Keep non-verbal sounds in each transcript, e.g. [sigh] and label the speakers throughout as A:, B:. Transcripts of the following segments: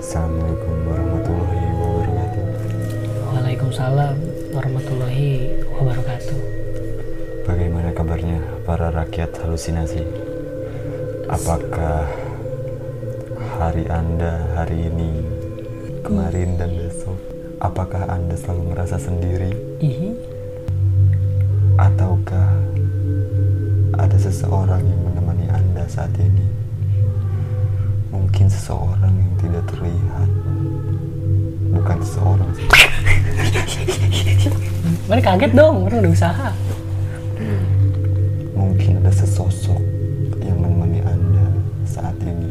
A: Assalamualaikum warahmatullahi wabarakatuh.
B: Waalaikumsalam warahmatullahi wabarakatuh.
A: Bagaimana kabarnya para rakyat halusinasi? Apakah hari Anda hari ini, kemarin dan besok, apakah Anda selalu merasa sendiri
B: Ih,
A: ataukah ada seseorang yang menemani Anda saat ini? Mungkin seseorang yang tidak terlihat. Bukan seseorang sih.
B: Mereka kaget dong, orang udah usaha.
A: Mungkin ada sesosok yang menemani Anda saat ini.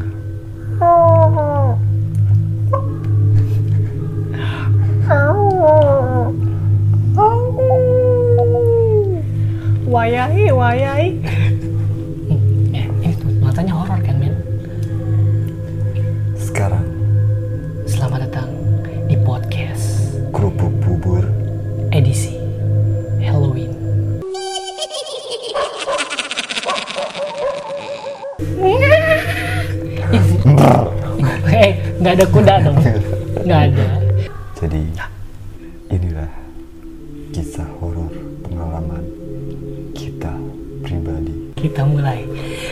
B: Wayai, wayai. Eh, ini tuh, matanya horor kan, men?
A: Sekarang,
B: Selamat datang di podcast
A: kerupuk bubur.
B: edisi Halloween. [laughs] eh, nggak ada kuda dong. Nggak ada.
A: Jadi, inilah kisah horor pengalaman kita pribadi.
B: Kita mulai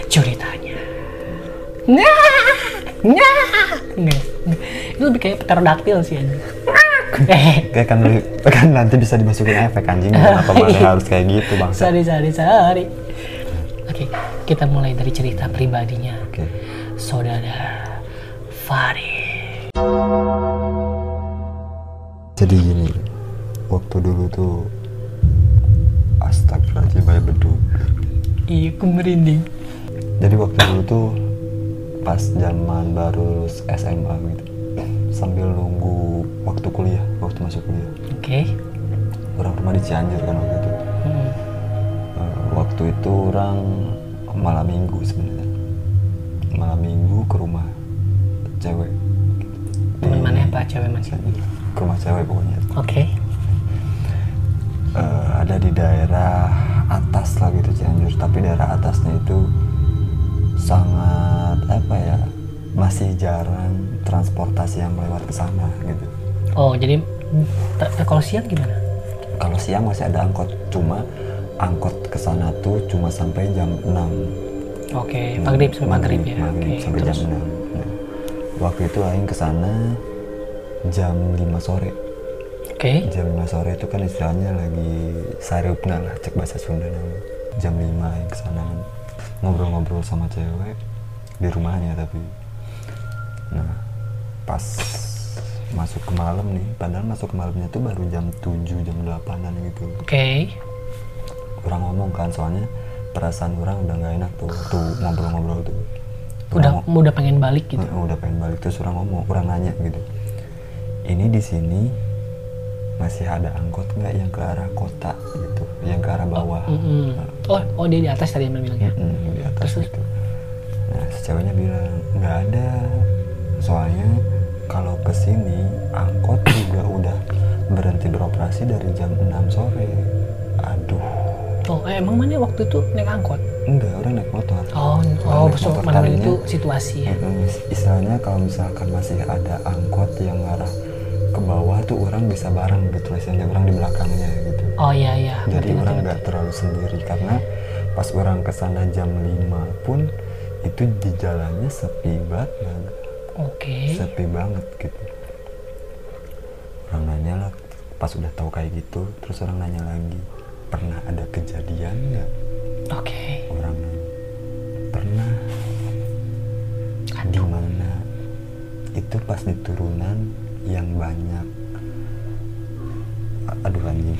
B: ceritanya. Nah, nah, Nggak. Itu lebih kayak pterodaktil sih. anjing. Eh,
A: Kayak kan, kan nanti bisa dimasukin efek anjing kenapa malah harus kayak gitu bang? Oke,
B: sorry, sorry, sorry. Oke, kita mulai dari cerita pribadinya. Saudara Farid.
A: jadi gini, waktu dulu tuh astagfirullahaladzim banyak beduk.
B: Iya, aku merinding.
A: Jadi waktu dulu tuh pas zaman baru lulus SMA gitu, sambil nunggu waktu kuliah, waktu masuk kuliah.
B: Oke.
A: Orang rumah di Cianjur kan waktu itu.
B: Hmm.
A: Eh, waktu itu orang malam minggu sebenarnya malam minggu ke rumah cewek gitu. Di-
B: Temen mana apa cewek mana?
A: ke rumah cewek pokoknya
B: Oke.
A: Eh, ada di daerah atas lah gitu Cianjur tapi daerah atasnya itu sangat apa ya masih jarang transportasi yang lewat ke sana gitu
B: Oh, jadi ter- eh, kalau siang gimana?
A: kalau siang masih ada angkot cuma angkot ke sana tuh cuma sampai jam 6
B: Oke, maghrib sampai maghrib ya. Oke,
A: Maghrib sampai jam
B: terus.
A: 6. Nah, waktu itu Aing ke sana jam 5 sore.
B: Oke.
A: Jam 5 sore itu kan istilahnya lagi sareupna lah cek bahasa Sunda namanya. Jam 5 Aing ke sana ngobrol-ngobrol sama cewek di rumahnya tapi. Nah, pas masuk ke malam nih, padahal masuk ke malamnya tuh baru jam 7, jam 8-an gitu.
B: Oke.
A: Kurang ngomong kan soalnya perasaan orang udah nggak enak tuh, tuh ngobrol-ngobrol tuh.
B: Udah
A: Kurang-
B: udah pengen balik gitu.
A: Heeh, Oh, udah pengen balik terus orang ngomong orang nanya gitu ini di sini masih ada angkot nggak yang ke arah kota gitu yang ke arah bawah
B: Mm-mm. Oh, oh dia di atas tadi yang bilang ya.
A: Mm, di atas
B: Terus?
A: gitu nah si ceweknya bilang nggak ada soalnya kalau ke sini angkot juga udah berhenti beroperasi dari jam 6 sore aduh
B: Oh, eh, emang mana waktu itu naik angkot?
A: enggak orang naik motor
B: Oh, oh,
A: Orang naik
B: besok
A: motor
B: mana
A: tadinya.
B: itu situasi ya.
A: Mm-mm. Istilahnya kalau misalkan masih ada angkot yang ngarah ke bawah tuh orang bisa bareng gitu istilahnya orang di belakangnya gitu.
B: Oh iya iya,
A: Jadi
B: ngerti ngerti.
A: orang
B: ngerti.
A: nggak terlalu sendiri karena pas orang kesana jam 5 pun itu di jalannya sepi banget,
B: Oke.
A: sepi banget gitu. Orang nanya lah pas udah tahu kayak gitu terus orang nanya lagi pernah ada kejadian nggak
B: Oke.
A: orang nanya, pernah di
B: Aduh.
A: mana itu pas di turunan yang banyak A- aduh anjing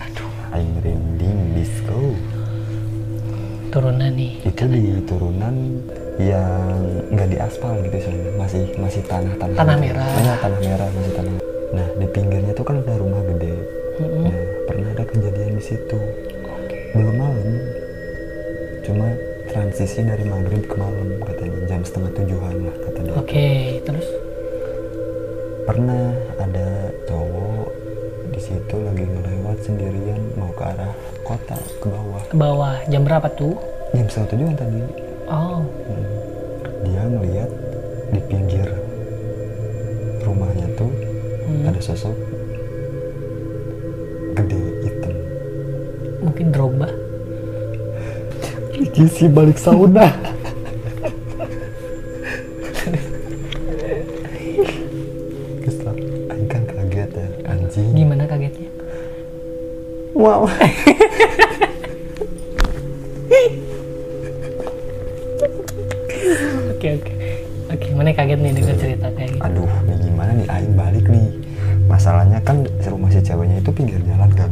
B: Aduh.
A: aing rinding disco
B: Turunan nih.
A: itu di turunan yang nggak di aspal gitu istilahnya masih masih tanah tanah
B: Tanah merah.
A: Iya, tanah merah masih tanah nah di pinggirnya tuh kan ada rumah gede
B: Mm-mm.
A: nah pernah ada kejadian di situ
B: Oke.
A: belum malam cuma transisi dari maghrib ke malam katanya jam setengah tujuan lah katanya
B: Oke, terus
A: pernah ada cowok di situ lagi ngelewat sendirian mau ke arah kota ke bawah
B: ke bawah jam berapa tuh?
A: jam setengah tujuan tadi
B: Oh,
A: Hmm. dia ngeliat di pinggir
B: Hmm.
A: sosok gede hitam
B: mungkin Drogba
A: Gisi balik sauna Terus lah, Aing kan kaget ya Anjing
B: gimana kagetnya
A: Wow.
B: oke oke oke mana yang kaget nih dengar cerita kayak gitu
A: Aduh, ini gimana nih Aing balik nih. Masalahnya kan rumah si ceweknya itu pinggir jalan kan.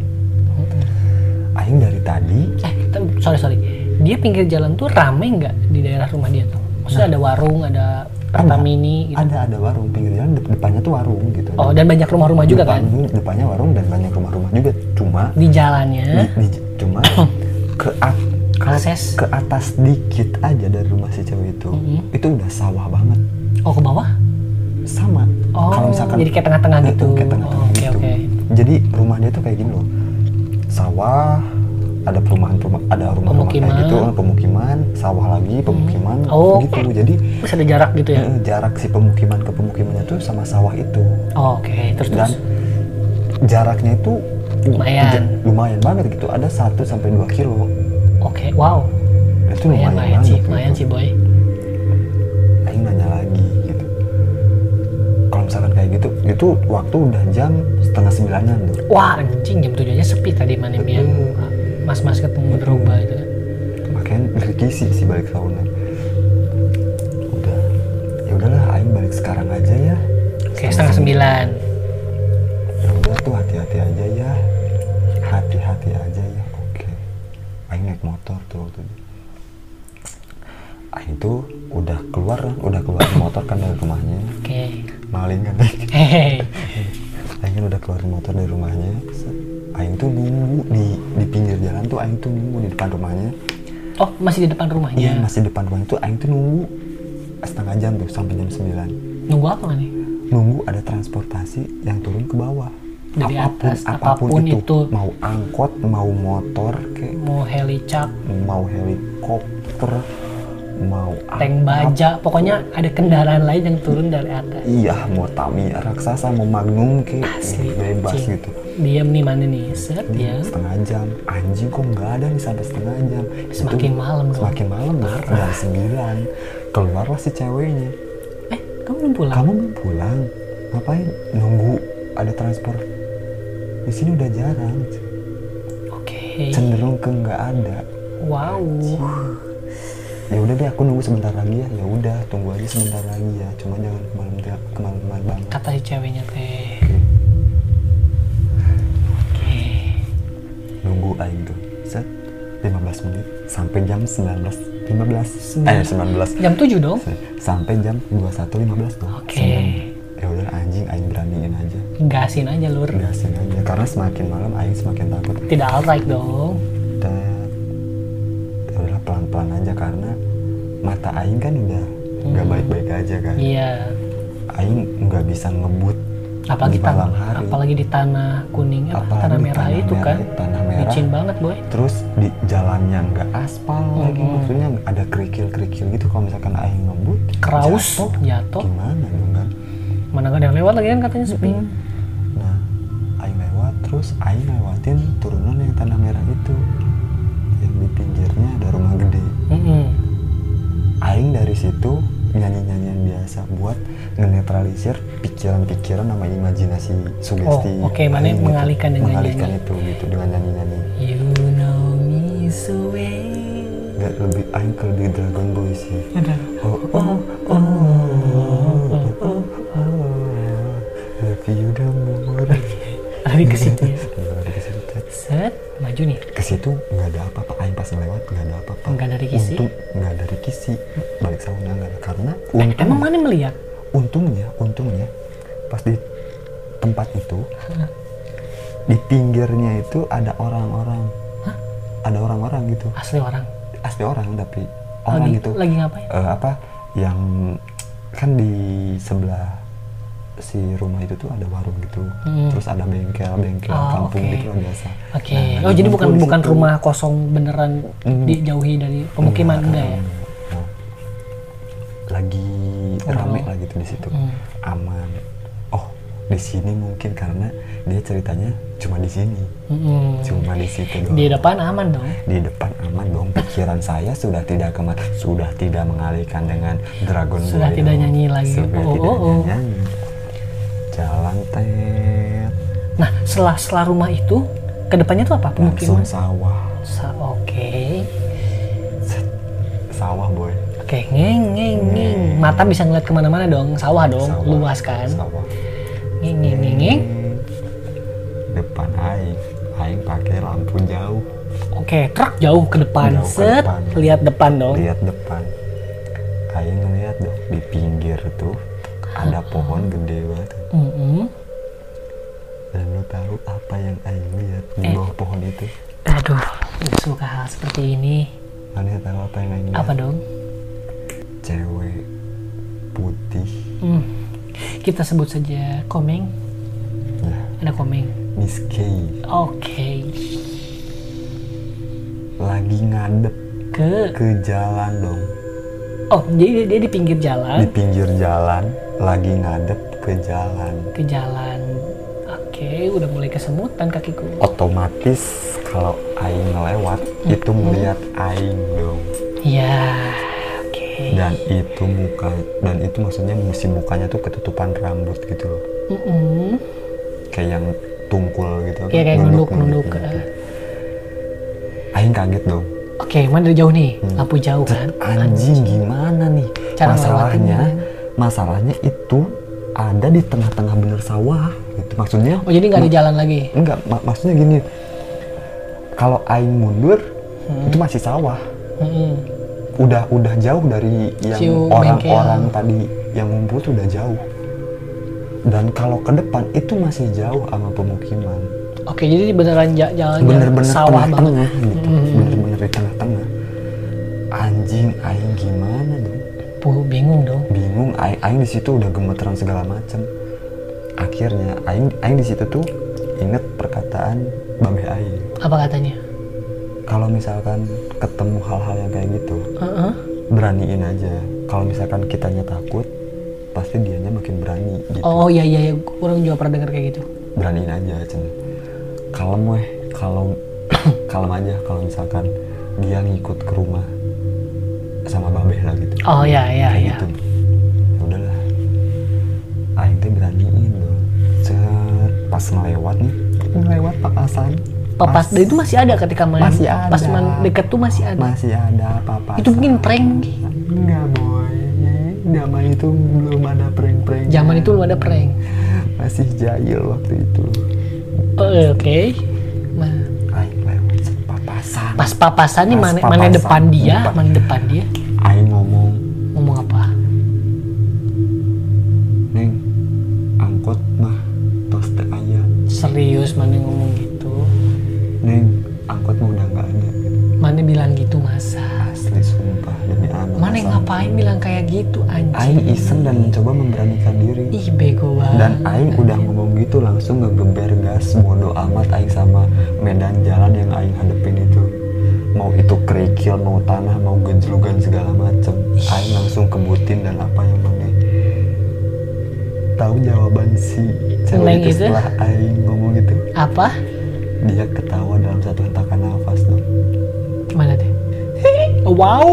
A: Aing dari tadi
B: eh tapi sorry sorry dia pinggir jalan tuh rame nggak di daerah rumah dia tuh maksudnya ada warung ada
A: Ada.
B: mini gitu
A: Nah. kan ada ada warung pinggir jalan dep- depannya tuh warung gitu.
B: oh dan banyak rumah-rumah juga kan
A: Depan- Depannya warung dan banyak rumah-rumah juga. Cuma
B: di jalannya
A: di- di-
B: [coughs]
A: cuma ke at-
B: akses
A: ke atas dikit aja dari rumah si cewek itu.
B: Mhm.
A: Itu udah sawah banget.
B: oh ke bawah
A: Sama.
B: Oh, jadi kayak tengah-tengah
A: Nah,
B: gitu.
A: tuh, Kayak tengah-tengah
B: Oh, oke,
A: gitu.
B: oke.
A: Jadi rumah dia tuh kayak gini loh. Sawah, ada perumahan peruma- ada rumah-rumah kayak
B: Pemukiman.
A: gitu, pemukiman, sawah lagi, pemukiman
B: Oh.
A: gitu. Jadi
B: terus ada jarak gitu ya
A: eh, jarak si pemukiman ke pemukimannya tuh sama sawah itu.
B: Oh, oke terus
A: Dan
B: terus
A: jaraknya itu
B: Lumayan.
A: ja- lumayan banget gitu. Ada 1 sampai 2 kilo.
B: oke wow
A: Itu lumayan,
B: lumayan lumayan
A: banget.
B: sih
A: gitu.
B: lumayan sih boy
A: Aing nanya lagi gitu. Kalau misalkan kayak gitu, itu waktu udah jam setengah sembilanan tuh.
B: wah anjing jam tujuh aja sepi tadi mana yang
A: Hmm.
B: mas-mas ketemu Drogba itu kan
A: makanya berkisi sih balik sauna udah ya udahlah Aing balik sekarang aja ya
B: oke setengah sembilan
A: ya udah tuh hati-hati aja ya hati-hati aja ya oke Aing naik motor tuh waktu itu Aing tuh udah keluar udah keluar motor kan dari rumahnya
B: oke
A: maling kan
B: hehehe
A: Aing kan udah keluarin motor dari rumahnya. set. Aing tuh nunggu di di pinggir jalan tuh Aing tuh nunggu di depan rumahnya.
B: oh masih di depan rumahnya
A: Iya, masih depan rumahnya tuh Aing tuh nunggu setengah jam tuh sampai jam 9
B: nunggu apa nih
A: nunggu ada transportasi yang turun ke bawah
B: Dari atas, apapun itu.
A: mau angkot mau motor kayak
B: mau helicap
A: mau helikopter mau angkot,
B: tank baja pokoknya ada kendaraan lain yang turun dari atas
A: iya mau Tamiya raksasa mau Magnum kayak
B: Asli,
A: bebas
B: anjing.
A: gitu
B: diam nih mana nih set
A: Iya.
B: ya
A: setengah jam anjing kok nggak ada nih sampai setengah jam Itu
B: Semakin malam dong.
A: semakin malam dong jam sembilan keluarlah si ceweknya
B: eh kamu belum pulang
A: Hmm. kamu belum pulang ngapain nunggu ada transport di sini udah jarang
B: oke
A: cenderung ke nggak ada
B: wow
A: ya udah deh aku nunggu sebentar lagi ya ya udah tunggu aja sebentar lagi ya cuma jangan kemalam kemalam banget
B: kata si ceweknya teh oke
A: nunggu aing tuh set 15 menit sampai jam 19 15 eh 19
B: jam tujuh dong
A: sampai jam 21.15 tuh.
B: Oke.
A: Senin. Ya udah anjing aing beraniin aja.
B: gasin aja lur
A: Gasin aja karena semakin malam aing semakin takut.
B: tidak alright dong
A: Dan ya udah pelan-pelan aja karena mata aing kan udah nggak baik-baik aja kan.
B: Hmm. iya
A: Aing nggak bisa ngebut
B: apalagi
A: di malam
B: tanah
A: hari.
B: apalagi di tanah kuning apa
A: Apalagi
B: tanah
A: di
B: merah
A: tanah
B: itu
A: merah,
B: kan
A: tanah merah.
B: licin banget boy
A: Terus di jalannya nggak aspal lagi
B: Mm-mm.
A: maksudnya ada kerikil-kerikil gitu kalau misalkan aing ngebut
B: kraus
A: jatuh,
B: jatuh
A: gimana dong kan?
B: mana nggak ada yang lewat lagi kan katanya sepi
A: Nah, Aing lewat terus Aing lewatin turunan yang tanah merah itu. Yang di pinggirnya ada rumah gede.
B: Mm-mm.
A: Aing dari situ nyanyi-nyanyian biasa buat ngenetralisir pikiran-pikiran sama imajinasi sugesti.
B: Oh, oke, mana
A: Aing gitu.
B: mengalihkan dengan
A: mengalihkan
B: nyanyi.
A: itu gitu dengan nyanyi-nyanyi.
B: you know me so well
A: Nggak lebih Aing ke lebih Dragon Ball sih.
B: Aduh.
A: Oh oh oh oh oh oh. Happy you don't more.
B: lari
A: Iya.
B: ke situ ya
A: Lari ke situ.
B: set maju nih
A: ke situ nggak ada apa-apa aing pas lewat nggak ada apa-apa
B: Nggak ada rikisi?
A: untung nggak ada rikisi balik sauna nggak ada karena
B: Eh,
A: untung
B: emang mana melihat
A: untungnya untungnya pas di tempat itu di pinggirnya itu ada orang-orang
B: Hah?
A: ada orang-orang gitu
B: asli orang
A: asli orang tapi orang
B: lagi
A: gitu
B: lagi ngapain
A: Eh, apa yang kan di sebelah si rumah itu tuh ada warung gitu
B: Hmm.
A: terus ada bengkel bengkel
B: Ah,
A: kampung
B: oke.
A: gitu lah biasa
B: Oke,
A: Nah,
B: oh jadi
A: ngumpul
B: bukan
A: di
B: bukan
A: situ.
B: rumah kosong beneran
A: Hmm.
B: dijauhi dari pemukiman
A: Iya.
B: enggak ya?
A: Nah, lagi rame lah gitu di situ
B: Hmm.
A: aman oh di sini mungkin karena dia ceritanya cuma di sini
B: Mm-mm.
A: cuma di situ doang
B: Di depan aman dong.
A: di depan aman dong pikiran saya sudah tidak kemana sudah tidak mengalihkan dengan Dragon
B: Sudah
A: Ball
B: tidak
A: yang-
B: nyanyi lagi.
A: sudah
B: Oh,
A: tidak
B: oh, oh.
A: nyanyi jalan tet
B: Nah, setelah setelah rumah itu, kedepannya tuh apa?
A: langsung
B: Pemukiman.
A: sawah
B: Sa- Oke.
A: sawah boy
B: Oke, ngeng ngeng ngeng. Mata bisa ngeliat kemana-mana dong. Sawah dong,
A: sawah
B: luas kan.
A: sawah
B: Ngeng ngeng ngeng ngeng.
A: depan aing aing pakai lampu jauh
B: Oke, truk jauh ke depan.
A: Jauh ke
B: Set,
A: depan.
B: lihat depan dong.
A: lihat depan aing ngeliat dong di pinggir tuh ada pohon gede banget
B: Mm-mm.
A: dan lo tahu apa yang aing lihat di
B: Eh.
A: bawah pohon itu
B: Aduh, nggak suka hal seperti ini.
A: Kalian tahu apa yang aing lihat
B: Apa dong?
A: cewek putih
B: Hmm. Kita sebut saja Komeng.
A: ya
B: Ada Komeng.
A: Miss K
B: Oke.
A: lagi ngadep
B: Ke
A: ke jalan dong
B: Oh, jadi dia- dia di pinggir
A: di
B: jalan,
A: pinggir jalan lagi ngadep ke jalan
B: ke jalan. Oke, udah mulai kesemutan kakiku.
A: otomatis kalau aing lewat
B: Hmm.
A: itu melihat aing dong
B: Ya. Oke.
A: dan itu muka dan itu maksudnya musim mukanya tuh ketutupan rambut gitu loh
B: Mm-mm.
A: kayak yang tungkul gitu
B: Iya, kayak nunduk-nunduk.
A: gitu. aing kaget dong
B: Oke, mana dari jauh nih?
A: Hmm.
B: Lampu jauh kan?
A: anjing gimana nih
B: Cara
A: masalahnya
B: ngelewatin
A: masalahnya itu ada di tengah-tengah bener sawah gitu maksudnya
B: Oh, jadi nggak ada jalan lagi.
A: enggak mak- maksudnya gini kalau aing mundur
B: Hmm.
A: itu masih sawah
B: Mm-mm.
A: udah udah jauh dari yang
B: Ciu
A: orang-orang tadi yang ngumpul tuh udah jauh dan kalau ke depan itu masih jauh sama pemukiman
B: Oke, jadi beneran ja- jalan
A: bener-bener
B: sawah banget. Hmm.
A: tengah-tengah gitu bener-bener di tengah-tengah anjing aing gimana dong
B: Puh, bingung dong.
A: bingung aing, aing di situ udah gemeteran segala macem akhirnya aing aing di situ tuh inget perkataan babeh aing
B: Apa katanya?
A: kalau misalkan ketemu hal-hal yang kayak gitu
B: Heeh.
A: beraniin aja kalau misalkan kitanya takut pasti dianya makin berani gitu
B: Oh, iya iya iya, kurang juga pernah dengar kayak gitu.
A: beraniin aja Cen kalem [coughs] weh kalau kalem aja kalau misalkan dia ngikut ke rumah sama babeh lah gitu
B: Oh, iya iya
A: Kayak
B: iya.
A: gitu ya udahlah aing teh beraniin loh Cet, pas ngelewat nih ngelewat papasan
B: Papas,
A: Pas-
B: dan itu masih ada ketika main.
A: gitu. Masih ada.
B: Pas main deket tuh masih ada.
A: masih ada papasan
B: Itu mungkin prank.
A: enggak boy zaman itu belum ada prank-prank
B: Zaman itu belum ada prank.
A: masih jahil waktu itu
B: Oh, Oke. Ma-
A: aing lewat cet, papasan
B: Pas papasan nih
A: Pas
B: mana, mana
A: papasan.
B: depan dia,
A: Depan.
B: mana depan dia.
A: Aing ngomong
B: Ngomong apa?
A: Neng, angkot mah tos teh aya.
B: Serius mana ngomong gitu?
A: Neng, angkot mah udah nggak ada.
B: Mana bilang gitu masa?
A: Asli sumpah demi anak.
B: Mana yang ngapain bilang kayak gitu anjing?
A: Aing iseng dan mencoba memberanikan diri.
B: Ih bego banget.
A: Dan Aing udah ngomong gitu langsung ngegeber gas bodo amat Aing sama medan jalan yang Aing hadepin itu mau itu kerikil, mau tanah, mau gejlugan segala macem Aing langsung kebutin dan apa yang mana tahu jawaban si
B: Neng
A: cewek itu
B: itu?
A: setelah Aing ngomong gitu
B: Apa?
A: dia ketawa dalam satu hentakan nafas dong
B: Mana deh? [laughs] Wow.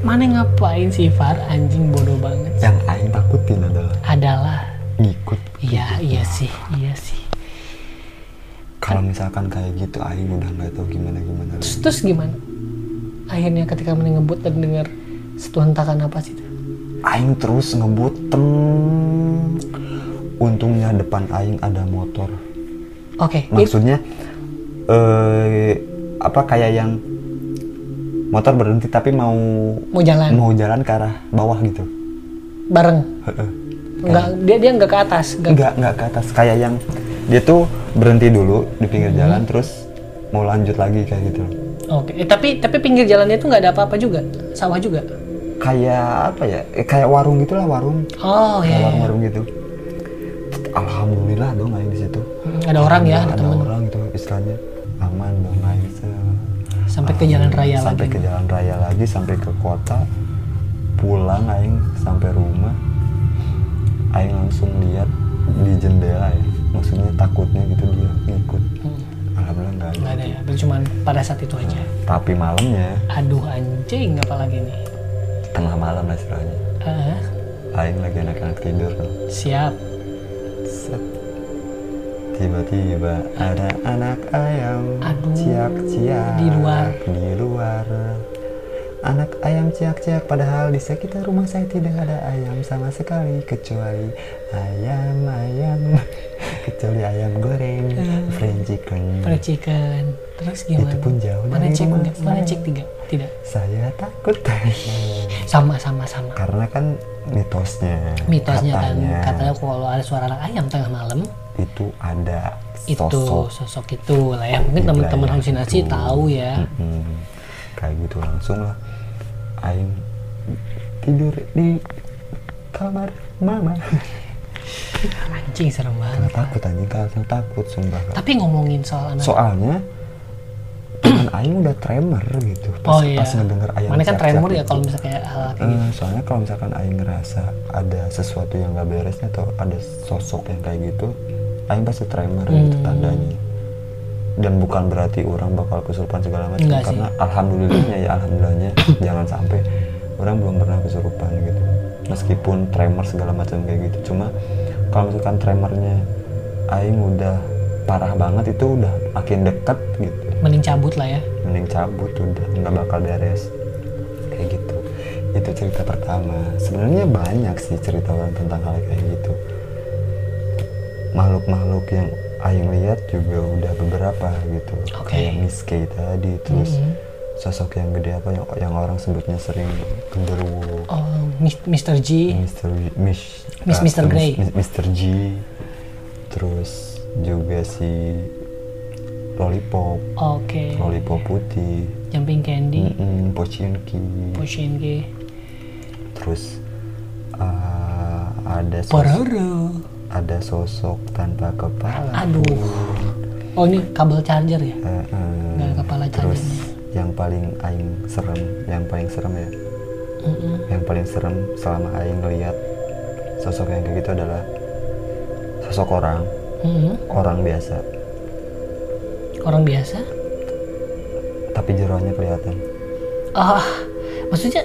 B: Mana yang ngapain sih Far anjing bodoh banget?
A: yang Aing takutin adalah
B: Adalah.
A: ngikut
B: Iya iya sih iya sih.
A: kalau misalkan kayak gitu Aing udah nggak tahu gimana gimana
B: Terus, terus gimana? Akhirnya ketika Mane ngebut dan dengar satu hentakan napas itu.
A: Aing terus ngebuten untungnya depan Aing ada motor
B: Oke, itu
A: maksudnya eh apa kayak yang motor berhenti tapi mau
B: mau jalan
A: mau jalan ke arah bawah gitu
B: bareng.
A: Heeh.
B: Enggak, dia dia enggak ke atas, enggak.
A: nggak nggak ke atas kayak yang dia tuh berhenti dulu di pinggir jalan terus mau lanjut lagi kayak gitu loh.
B: Oke, eh, tapi tapi pinggir jalannya itu nggak ada apa-apa juga, sawah juga.
A: kayak apa ya eh, kayak warung gitulah warung
B: Oh
A: kayak
B: ya,
A: warung-warung gitu alhamdulillah dong Aing di situ
B: ada orang ya, ada
A: ada
B: temen.
A: orang itu istilahnya aman dong Aing se-
B: Sampai ke jalan raya
A: sampai
B: lagi.
A: ke jalan raya lagi sampai ke kota pulang aing sampai rumah Aing langsung lihat di jendela ya maksudnya takutnya gitu dia ngikut
B: Hmm.
A: alhamdulillah nggak ada,
B: Nggak ada ya, berarti cuman pada saat itu aja.
A: tapi malamnya
B: Aduh anjing apalagi nih.
A: tengah malam lah istilahnya
B: Ah,
A: Aing lagi anak-anak tidur tuh
B: siap.
A: Set. Tiba-tiba ada anak ayam
B: Aduh,
A: ciak-ciak
B: di luar.
A: di luar. Anak ayam ciak-ciak padahal di sekitar rumah saya tidak ada ayam sama sekali kecuali ayam-ayam [laughs] kecuali ayam goreng,
B: Hmm.
A: french chicken.
B: Pada chicken. Terus gimana?
A: Itu pun jauh
B: Mana
A: dari
B: cek
A: rumah
B: enggak? Mana
A: saya.
B: cek tiga? Tidak.
A: Saya takut [laughs]
B: Sama sama sama.
A: karena kan mitosnya,
B: Mitosnya
A: katanya,
B: kan katanya kalau ada suara anak ayam tengah malam
A: itu ada
B: itu
A: sosok
B: sosok, itu lah ya. Mungkin
A: Tidak
B: teman-teman
A: ya,
B: halusinasi
A: itu.
B: tahu ya.
A: Mm-mm. kayak gitu langsung lah Aing tidur di kamar mama [laughs]
B: Anjing serem
A: karena
B: banget.
A: takut anjing karena takut sumpah Kak.
B: Tapi ngomongin soal anak
A: soalnya tangan Aing udah tremor gitu pas,
B: Oh iya.
A: pas ngedenger gitu. Aing
B: Mana kan tremor ya kalau misalnya kayak hal
A: Hmm.
B: kayak gitu.
A: Eh, soalnya kalau misalkan Aing ngerasa ada sesuatu yang gak beresnya atau ada sosok yang kayak gitu Aing pasti tremor gitu tandanya dan bukan berarti orang bakal kesurupan segala macam
B: Enggak sih.
A: karena alhamdulillahnya ya alhamdulillahnya [coughs] jangan sampai orang belum pernah kesurupan gitu meskipun tremor segala macam kayak gitu cuma kalau misalkan tremornya Aing udah parah banget itu udah makin deket gitu
B: Mending cabut lah ya.
A: mending cabut udah nggak bakal beres kayak gitu itu cerita pertama sebenarnya banyak sih cerita orang tentang hal kayak gitu makhluk-makhluk yang Aing lihat juga udah beberapa gitu
B: Oke.
A: kayak Miss Kay tadi terus
B: Mhm.
A: sosok yang gede apa yang yang orang sebutnya sering genderuwo
B: Oh, Mis- Mr. G.
A: Mr. G- Miss,
B: Miss
A: ah,
B: Mr. Grey.
A: Miss- Mr. G terus juga si lollipop
B: Oke.
A: lollipop putih
B: Jumping Candy,
A: Mm-mm, Pochinki.
B: Pushinki,
A: Terus uh, ada sosok,
B: Pororo.
A: ada sosok tanpa kepala.
B: Aduh. Oh ini kabel charger ya?
A: Eh, eh,
B: Nggak ada kepala
A: terus
B: chargernya.
A: yang paling aing serem, yang paling serem ya,
B: Mm-mm.
A: yang paling serem selama aing ngeliat sosok yang kayak gitu adalah sosok orang,
B: Mm-mm.
A: orang biasa,
B: Hmm, Orang biasa?
A: tapi jeroannya kelihatan.
B: Ah, maksudnya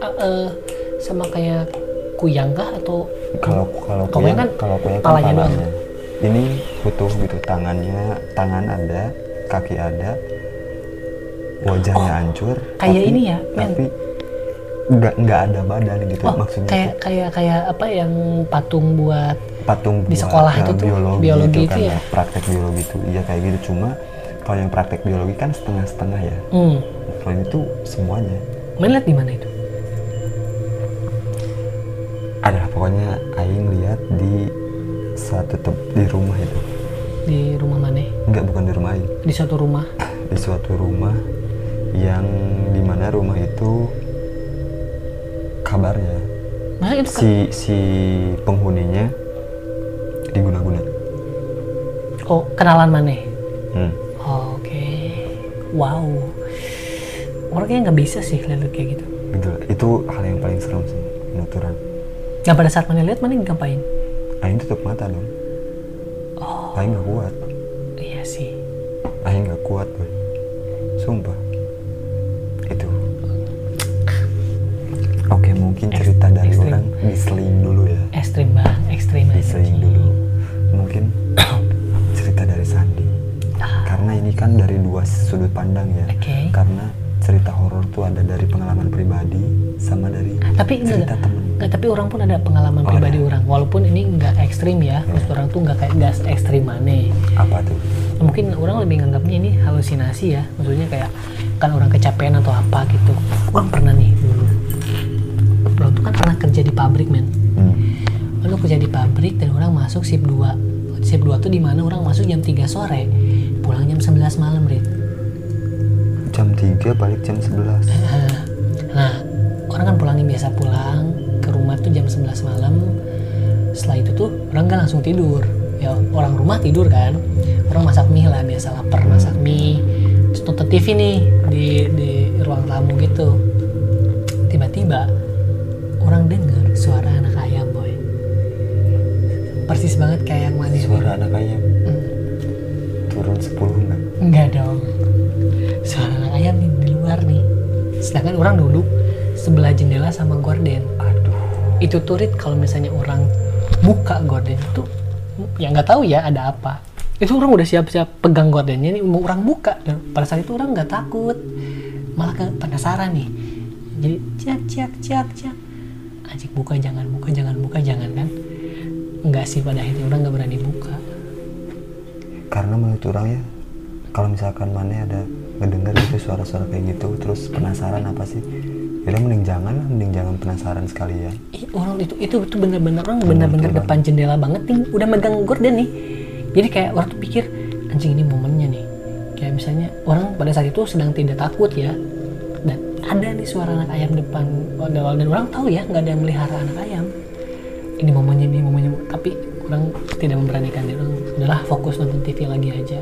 B: ah, eh, sama kayak kuyang kah atau
A: Kalau kalau
B: Kalau yang
A: kuyang-
B: kan
A: kalau kuyang kan
B: palanya doang.
A: palanya. Ini utuh gitu, tangannya, tangan ada, kaki ada, wajahnya hancur.
B: Oh, kayak ini ya, men.
A: Tapi nggak nggak ada badan gitu
B: oh
A: maksudnya.
B: kayak kayak kayak apa yang patung buat
A: tuh patung
B: di
A: buat,
B: sekolah
A: eh,
B: itu tuh,
A: biologi,
B: biologi
A: gitu
B: itu
A: kan,
B: ya?
A: Praktek biologi itu, iya kayak gitu. Cuma kalau yang praktek biologi kan setengah-setengah ya.
B: hmm.
A: Kalau ini tuh semuanya.
B: Melihat di mana itu?
A: Ada pokoknya Aing lihat di satu tem- di rumah itu.
B: Di rumah mana?
A: Nggak bukan di rumah Aing.
B: Di suatu rumah.
A: di suatu rumah yang dimana rumah itu kabarnya
B: Nah, itu kan-
A: si si penghuninya diguna-guna
B: Oh, kenalan mana?
A: Hmm.
B: Oh, Oke. Wow. Orangnya nggak bisa sih lihat kayak gitu.
A: Gila, itu hal yang paling serem sih penuturan
B: Nah pada saat mana lihat mana ngapain?
A: Aing tutup mata dong Aing gak kuat
B: Iya sih.
A: Aing gak kuat boy sumpah itu oke mungkin cerita dari
B: ekstrim.
A: orang diseling dulu ya
B: Ekstrim bang, ekstrim
A: diseling
B: Iya.
A: dulu mungkin [coughs] cerita dari Sandi karena ini kan dari dua sudut pandang ya
B: Ah. Oke.
A: karena cerita horor tuh ada dari pengalaman pribadi sama dari
B: Ah, Tapi enggak,
A: cerita temen
B: enggak, tapi orang pun ada pengalaman
A: Oh,
B: pribadi
A: ada. Iya.
B: orang. Walaupun ini nggak ekstrim ya, maksud orang tuh nggak kayak gas ekstrim mana.
A: apa tuh
B: Mungkin orang lebih nganggapnya ini halusinasi ya, maksudnya kayak kan orang kecapean atau apa gitu. Orang pernah nih dulu. Orang tuh kan pernah kerja di pabrik men.
A: Hmm.
B: Lalu kerja di pabrik dan orang masuk shift 2 Shift 2 tuh dimana orang masuk jam 3 sore Pulang jam 11 malam, Rit
A: jam 3 balik jam 11
B: Nah, Nah, orang kan pulangnya biasa pulang ke rumah tuh jam 11 malam. Setelah itu tuh orang nggak langsung tidur. Ya orang rumah tidur kan. Orang masak mie lah biasa lapar masak mie. Terus nonton TV nih di di ruang tamu gitu. Tiba-tiba orang dengar suara anak ayam boy. persis banget kayak yang manis
A: Suara anak ayam
B: Hmm,
A: turun 10 enggak?
B: enggak dong suara anak ayam nih di luar nih sedangkan orang duduk sebelah jendela sama gorden
A: Aduh.
B: itu tuh Rit, kalau misalnya orang buka gorden itu ya nggak tahu ya ada apa itu orang udah siap-siap pegang gordennya nih mau orang buka dan pada saat itu orang nggak takut malah ke penasaran nih jadi ciak ciak ciak ciak ajak buka jangan buka jangan buka jangan kan nggak sih pada akhirnya orang nggak berani buka
A: Karena menurut orang ya, kalau misalkan mana ada ngedengar gitu suara-suara kayak gitu, terus penasaran apa sih? Jadi mending jangan lah, mending jangan penasaran sekalian.
B: Ih, orang itu itu itu bener-bener orang bener-bener depan jendela banget nih udah megang gorden nih jadi kayak orang tuh pikir anjing ini momennya nih kayak misalnya orang pada saat itu sedang tidak takut ya dan ada nih suara anak ayam depan oh, dan dan orang tahu ya nggak ada yang melihara anak ayam ini momennya ini momennya tapi orang tidak memberanikan diri orang udahlah fokus nonton TV lagi aja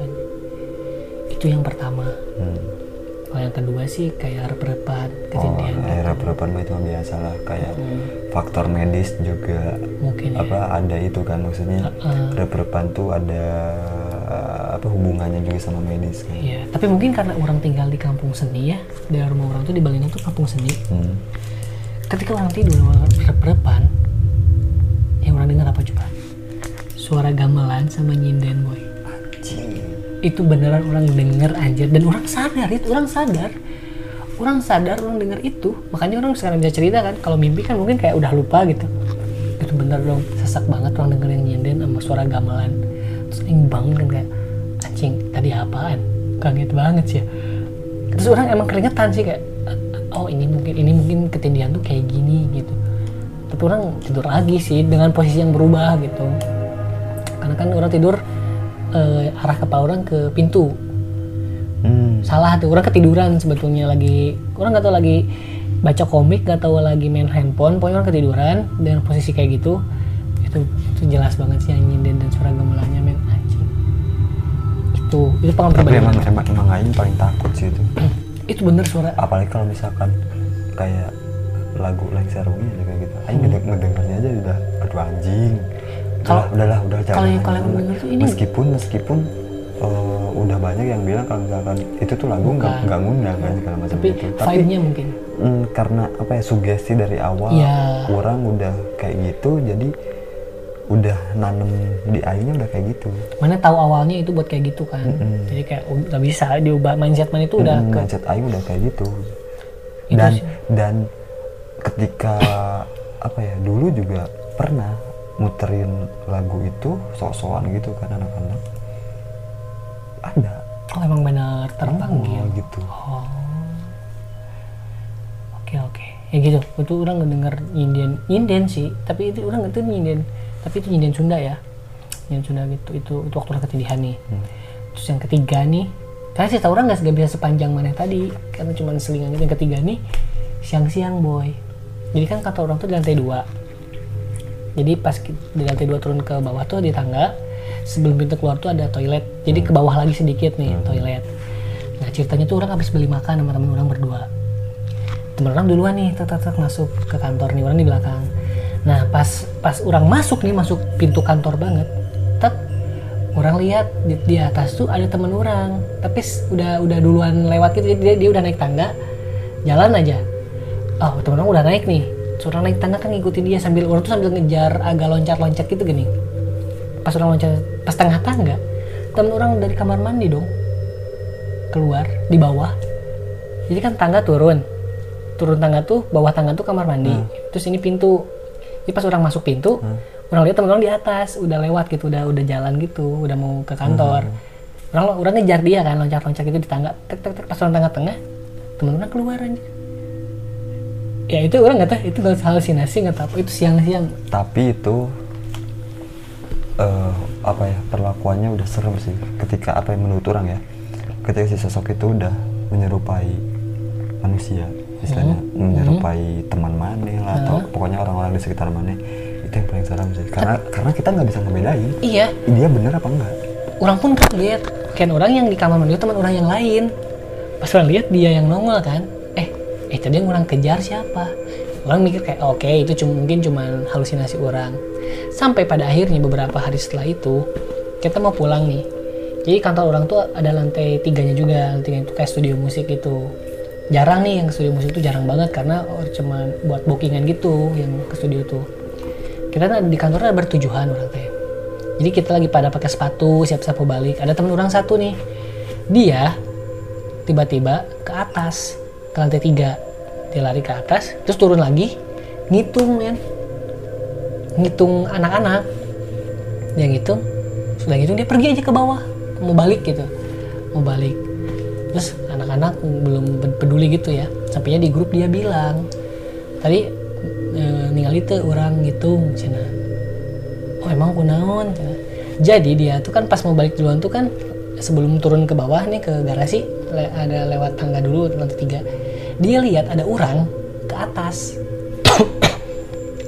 B: itu yang pertama
A: Hmm.
B: kalau yang kedua sih kayak berdepan
A: Oh,
B: kejadian Hmm.
A: era perubahan mah itu mah biasa lah kayak faktor medis juga
B: mungkin ya.
A: apa ada itu kan maksudnya
B: Uh-uh.
A: era perubahan tuh ada uh, apa hubungannya juga sama medis kan.
B: Iya, tapi mungkin karena orang tinggal di kampung seni ya, dari rumah orang tuh di Balena tuh kampung seni.
A: Hmm.
B: Ketika orang tidur orang berdepan, yang orang dengar apa coba? Suara gamelan sama nyinden boy.
A: Anjing.
B: Itu beneran orang denger anjir dan orang sadar itu, orang sadar. Orang sadar orang denger itu, makanya orang sekarang bisa cerita kan. Kalau mimpi kan mungkin kayak udah lupa gitu. Itu bener dong, sesak banget orang denger yang nyinden sama suara gamelan. Terus yang bangun kan kayak anjing tadi apaan? Kaget banget sih ya terus orang emang keringetan sih kayak oh ini mungkin ini mungkin ketindihan tuh kayak gini gitu tapi orang tidur lagi sih dengan posisi yang berubah gitu karena kan orang tidur eh, arah kepala orang ke pintu
A: Hmm.
B: salah tuh orang ketiduran sebetulnya lagi orang nggak tahu lagi baca komik nggak tahu lagi main handphone pokoknya orang ketiduran dengan posisi kayak gitu itu itu jelas banget sih yang nyinden dan suara gamelannya men anjing itu itu pengalaman
A: Tapi
B: pribadi
A: emang emang emang ayam paling takut sih itu.
B: [clears throat] itu bener suara
A: Apalagi kalau misalkan kayak lagu Lengser Wengi aja kayak gitu. Aing ngedeng- ngedengarnya aja udah aduh anjing. Udahlah,
B: Kalau-
A: udahlah, udah jangan.
B: kalau yang-
A: jangan,
B: kalau yang
A: jangan.
B: mendengar tuh ini-
A: meskipun meskipun eh, udah banyak yang bilang kalau misalkan itu tuh lagu nggak
B: Bukan.
A: nggak ngundang kan segala macam
B: tapi
A: gitu.
B: vibe-nya mungkin
A: mm, karena apa ya sugesti dari awal
B: Iya.
A: orang udah kayak gitu jadi udah nanem di airnya udah kayak gitu.
B: mana tahu awalnya itu buat kayak gitu kan
A: Mm-mm.
B: jadi kayak oh, nggak bisa diubah mindset man itu udah
A: Mm,
B: ke
A: mindset aing udah kayak gitu
B: Itu
A: dan
B: sih.
A: dan ketika apa ya dulu juga pernah muterin lagu itu sok-sokan gitu kan anak-anak ada
B: oh emang bener terpanggil
A: Oh, gitu
B: oh oke oke ya gitu itu orang ngedenger nyinden nyinden sih tapi itu orang itu nyinden tapi itu nyinden Sunda ya nyinden Sunda gitu itu itu waktu orang ketindihan nih terus yang ketiga nih karena sih orang nggak nggak bisa sepanjang mana tadi karena cuma selingan gitu yang ketiga nih siang-siang boy jadi kan kata orang tuh di lantai dua jadi pas ki- di lantai dua turun ke bawah tuh di tangga sebelum pintu keluar tuh ada toilet jadi ke bawah lagi sedikit nih toilet nah ceritanya tuh orang habis beli makan sama temen orang berdua temen orang duluan nih tak tak tak masuk ke kantor nih orang di belakang nah pas pas orang masuk nih masuk pintu kantor banget tet orang lihat di, di atas tuh ada temen orang tapi s- udah udah duluan lewat gitu jadi dia, dia udah naik tangga jalan aja oh temen orang udah naik nih Terus orang naik tangga kan ngikutin dia sambil orang tuh sambil ngejar agak loncat-loncat gitu gini pas orang loncat pas tengah tangga temen orang dari kamar mandi dong keluar di bawah jadi kan tangga turun turun tangga tuh bawah tangga tuh kamar mandi terus ini pintu jadi pas orang masuk pintu orang lihat temen orang di atas udah lewat gitu udah udah jalan gitu udah mau ke kantor orang orang ngejar dia kan loncat-loncat gitu di tangga tek tek tek pas orang tangga tengah temen orang keluar aja ya itu orang nggak tahu itu halusinasi nggak tahu apa. itu siang-siang
A: tapi itu eh, apa ya perlakuannya udah serem sih ketika apa yang menurut orang ya ketika si sosok itu udah menyerupai manusia istilahnya menyerupai teman maneh lah atau pokoknya orang-orang di sekitar maneh itu yang paling serem sih karena karena kita nggak bisa ngebedain
B: iya
A: dia bener apa enggak
B: orang pun kaget kan orang yang di kamar mandi teman orang yang lain pas orang lihat dia yang nongol kan eh eh tadi yang orang kejar siapa orang mikir kayak oke itu cum- mungkin cuman halusinasi orang sampai pada akhirnya beberapa hari setelah itu kita mau pulang nih jadi kantor orang tuh ada lantai tiganya juga lantai tiganya itu kayak studio musik gitu jarang nih yang ke studio musik itu jarang banget karena or- cuman buat bookingan gitu yang ke studio tuh kita kan ada- di kantornya ada bertujuhan orang teh jadi kita lagi pada pakai sepatu siap-siap mau balik ada temen orang satu nih dia tiba-tiba ke atas ke lantai tiga dia lari ke atas terus turun lagi ngitung men ngitung anak-anak dia ngitung sudah ngitung dia pergi aja ke bawah mau balik gitu mau balik terus anak-anak belum peduli gitu ya sampainya di grup dia bilang tadi eh, ningali itu orang ngitung cina oh emang kunaon Cina. jadi dia tuh kan pas mau balik duluan tuh kan sebelum turun ke bawah nih ke garasi le- ada lewat tangga dulu lantai tiga dia lihat ada orang ke atas [coughs]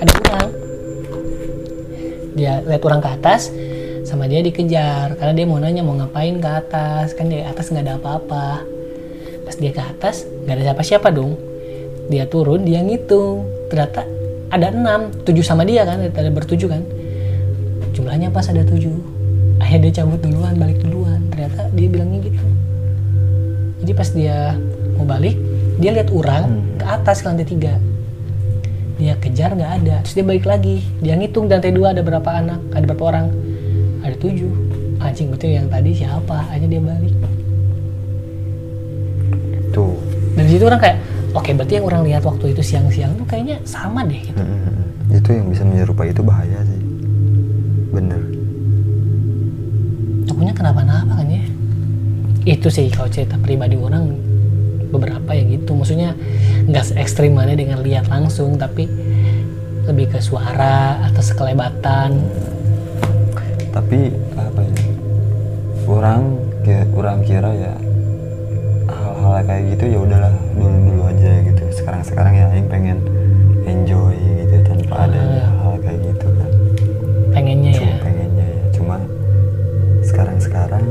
B: ada orang dia lihat orang ke atas sama dia dikejar karena dia mau nanya mau ngapain ke atas kan di atas nggak ada apa-apa pas dia ke atas nggak ada siapa-siapa dong dia turun dia ngitung ternyata ada enam tujuh sama dia kan ada bertujuh kan jumlahnya pas ada tujuh akhirnya dia cabut duluan balik duluan ternyata dia bilangnya gitu jadi pas dia mau balik dia lihat orang ke atas ke lantai tiga dia kejar nggak ada terus dia balik lagi dia ngitung di lantai dua ada berapa anak ada berapa orang ada tujuh anjing betul yang tadi siapa akhirnya dia balik
A: tuh
B: dari situ orang kayak oke berarti yang orang lihat waktu itu siang-siang tuh kayaknya sama deh gitu
A: Mm-mm. itu yang bisa menyerupai itu bahaya sih bener
B: takutnya kenapa-napa kan ya itu sih kalau cerita pribadi orang beberapa ya gitu maksudnya nggak se ekstrim mana dengan lihat langsung tapi lebih ke suara atau sekelebatan
A: tapi apa ya orang ki- orang kira ya hal-hal kayak gitu ya udahlah dulu dulu aja gitu sekarang sekarang ya yang pengen enjoy gitu tanpa ada
B: Ah.
A: hal-hal kayak gitu kan
B: pengennya
A: cuma
B: ya
A: pengennya ya cuma sekarang sekarang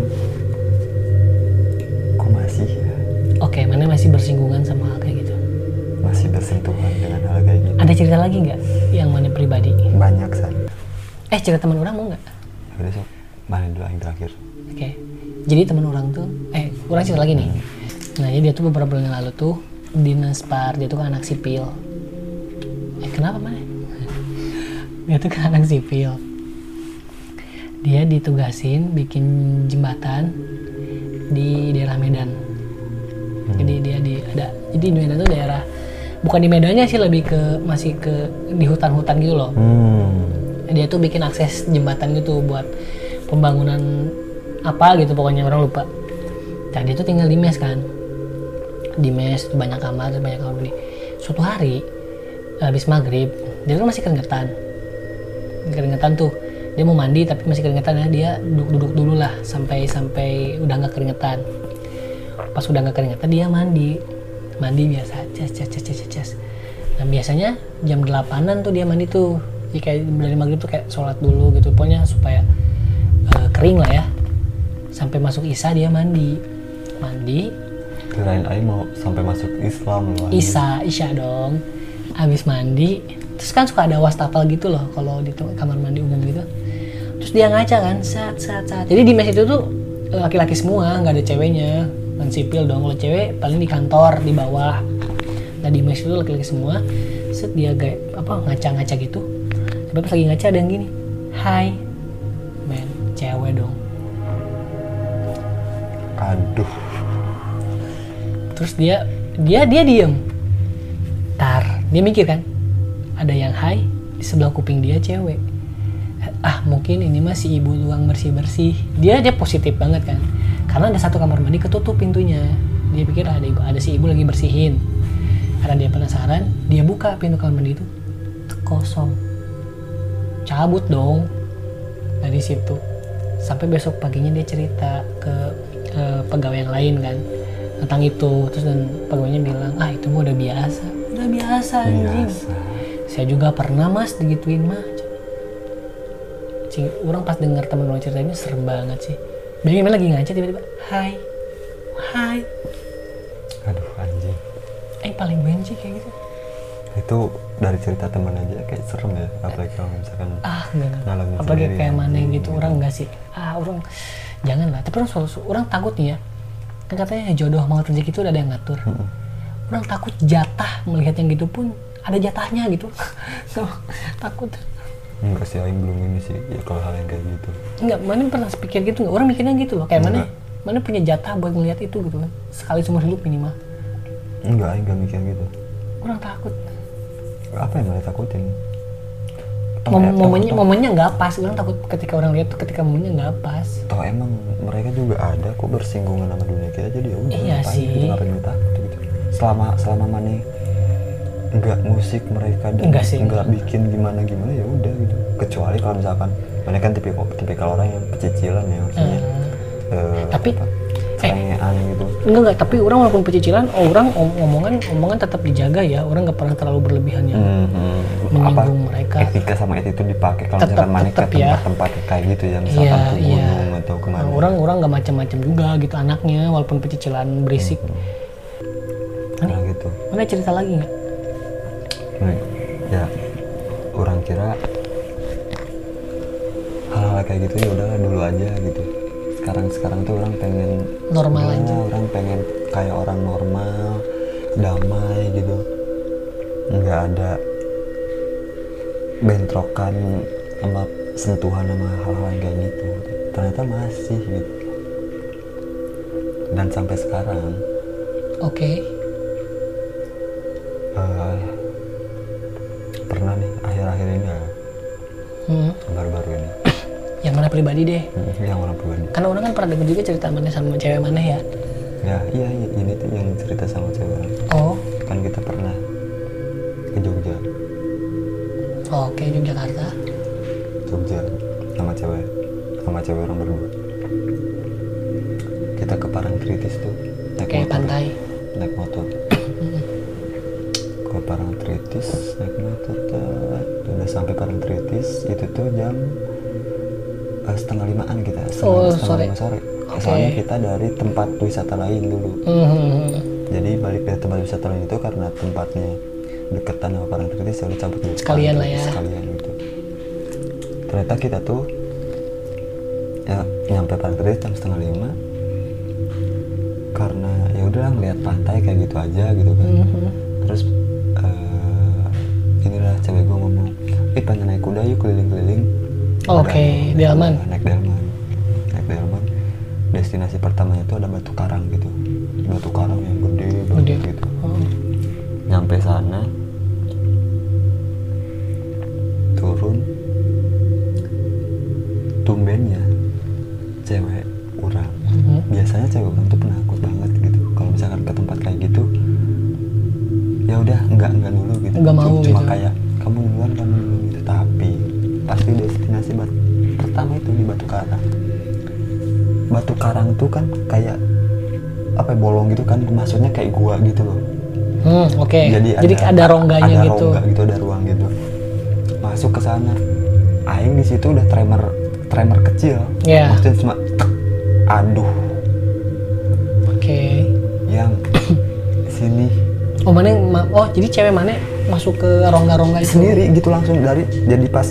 A: kok masih ya
B: oke mana masih bersinggungan sama hal kayak gitu
A: masih bersentuhan dengan hal kayak gitu
B: ada cerita lagi nggak yang mana pribadi
A: banyak san
B: eh cerita teman orang mau nggak
A: udah sok mana dulu yang terakhir
B: Oke. Jadi teman orang tuh, eh orang cerita lagi nih. Nah jadi dia tuh beberapa bulan yang lalu tuh di Naspar dia tuh kan anak sipil. Eh kenapa mana? [laughs] dia tuh kan anak sipil. Dia ditugasin bikin jembatan di daerah Medan. Jadi dia di ada jadi di Medan tuh daerah bukan di Medannya sih lebih ke masih ke di hutan-hutan gitu loh
A: hmm
B: dia tuh bikin akses jembatan gitu buat pembangunan apa gitu pokoknya orang lupa nah dia tuh tinggal di mes kan di mes tuh banyak kamar terus banyak kamar nih suatu hari habis maghrib dia tuh masih keringetan keringetan tuh dia mau mandi tapi masih keringetan ya dia duduk-duduk dulu lah sampai sampai udah nggak keringetan pas udah nggak keringetan dia mandi mandi biasa cas cas cas cas cas, cas nah biasanya jam 8an tuh dia mandi tuh jadi kayak dari maghrib tuh kayak sholat dulu gitu pokoknya supaya eh, kering lah ya sampai masuk isya dia mandi mandi
A: kirain Aing mau sampai masuk Islam loh
B: Isa, Isya dong. Habis mandi, terus kan suka ada wastafel gitu loh kalau di tem- kamar mandi umum gitu. Terus dia ngaca kan, sat sat sat. Jadi di mes itu tuh eh, laki-laki semua, nggak ada ceweknya. Dan sipil dong, kalau cewek paling di kantor, di bawah. Nah di mes itu laki-laki semua. Set dia gay, apa ngaca-ngaca gitu. Tapi pas lagi ngaca ada yang gini. Hai. Men, cewek dong.
A: aduh
B: terus dia dia dia diem tar dia mikir kan ada yang high di sebelah kuping dia cewek ah mungkin ini masih ibu tuang bersih bersih dia dia positif banget kan karena ada satu kamar mandi ketutup pintunya dia pikir ada ibu ada si ibu lagi bersihin karena dia penasaran dia buka pintu kamar mandi itu tek, kosong cabut dong dari situ sampai besok paginya dia cerita ke, ke pegawai yang lain kan tentang itu terus dan pegawainya bilang ah itu mah udah biasa udah biasa anjing
A: biasa
B: saya juga pernah mas digituin mah Cing, orang pas dengar temen orang cerita ini serem banget sih Bayangin emang lagi ngaca tiba-tiba hai hai
A: aduh anjing
B: eh paling benci kayak gitu
A: itu dari cerita temen aja kayak serem ya apalagi kalau misalkan
B: ah enggak, enggak.
A: Ngalamin
B: apalagi
A: sendiri
B: kayak
A: ya.
B: mana gitu orang enggak sih ah orang jangan lah tapi orang selalu orang takut nih ya kan katanya jodoh sama rezeki itu ada yang ngatur orang takut jatah melihat yang gitu pun ada jatahnya gitu [laughs] So, takut
A: enggak sih Aing belum ini sih ya kalau hal yang kayak gitu
B: enggak mana pernah pikir gitu enggak orang mikirnya gitu loh kayak mana
A: Enggak.
B: mana punya jatah buat melihat itu gitu kan sekali seumur hidup minimal
A: enggak Aing enggak mikir gitu
B: orang takut
A: apa yang mereka takutin Toh-
B: Mom-
A: toh-
B: momennya
A: toh-
B: momennya nggak pas orang takut ketika orang lihat tuh ketika momennya nggak pas
A: toh emang mereka juga ada kok bersinggungan sama dunia kita jadi ya udah
B: Iya
A: ngapain
B: sih.
A: gitu ngapain lu takut gitu selama selama mana nggak musik mereka dan
B: Enggak sih.
A: nggak bikin gimana gimana ya udah gitu kecuali kalau misalkan mereka kan tipikal tipikal orang yang pecicilan ya maksudnya Eh,
B: Hmm. Tapi-
A: apa,
B: eh.
A: celengean gitu
B: enggak enggak tapi orang walaupun pecicilan orang om- omongan omongan tetap dijaga ya orang nggak pernah terlalu berlebihan ya
A: hmm, apa
B: menyinggung mereka
A: etika sama itu dipakai kalau
B: Tetep-
A: misalkan mana ke
B: tetep ya.
A: tempat-tempat kayak gitu ya
B: iya
A: misalkan ke
B: iya
A: gunung atau kemana
B: Nah, orang orang nggak macam-macam juga gitu anaknya walaupun pecicilan berisik
A: Hmm, nah gitu
B: mana cerita lagi nggak
A: Nih, ya orang kira hal-hal kayak gitu ya udahlah dulu aja gitu sekarang sekarang tuh orang pengen
B: Normal
A: "Udah,
B: aja."
A: orang pengen kayak orang normal damai gitu nggak ada bentrokan sama sentuhan sama hal-hal yang kayak gitu ternyata masih gitu dan sampai sekarang
B: oke
A: eh, pernah nih akhir-akhir ini ya,
B: Hmm.
A: baru-baru ini
B: yang mana pribadi deh
A: Hmm, yang orang pribadi
B: karena orang kan pernah denger juga cerita mana sama cewek mana ya
A: ya iya iya, ini tuh yang cerita sama cewek orang.
B: oh
A: kan kita pernah ke Jogja
B: oke Yogyakarta
A: Jogja sama cewek sama cewek orang berdua kita ke Parangtritis tuh naik
B: kayak
A: motor
B: pantai
A: naik motor ke Parangtritis naik motor tet. udah sampai Parangtritis itu tuh jam eh, setengah limaan kita setengah,
B: Oh,
A: setengah
B: sore.
A: lima sore
B: Oke.
A: soalnya kita dari tempat wisata lain dulu
B: Hmm.
A: jadi balik dari tempat wisata lain itu karena tempatnya deketan sama parangtritis ya udah cabut dulu
B: Sekalian lah ya.
A: sekalian gitu ternyata kita tuh ya nyampe parangtritis jam setengah lima karena ya udah ngeliat pantai kayak gitu aja gitu kan
B: Mhm.
A: terus eh, inilah cewek gue ngomong ih pengen naik kuda yuk keliling-keliling
B: Oke,
A: Udah,
B: delman.
A: naik delman naik delman destinasi pertamanya tuh ada batu karang gitu batu karang yang gede banget
B: Gede.
A: gitu
B: Oh.
A: nyampe sana turun tumbennya cewek orang
B: Mhm.
A: biasanya cewek orang tuh penakut banget gitu kalau misalkan ke tempat kayak gitu ya udah enggak enggak dulu gitu
B: Enggak mau
A: cuma
B: gitu.
A: kayak kamu duluan kamu duluan gitu tapi pasti destinasi bat- pertama itu di Batu Karang Batu Karang tuh kan kayak apa ya, bolong gitu kan maksudnya kayak gua gitu loh
B: Hmm, oke. Jadi ada, rongganya
A: ada
B: gitu.
A: rongga gitu ada ruang gitu masuk ke sana aing di situ udah tremor tremor kecil
B: Iya.
A: maksudnya cuma tek, aduh
B: Oke.
A: yang sini
B: Oh, mana yang ma- oh, jadi cewek mana masuk ke rongga-rongga itu?
A: sendiri gitu langsung dari jadi pas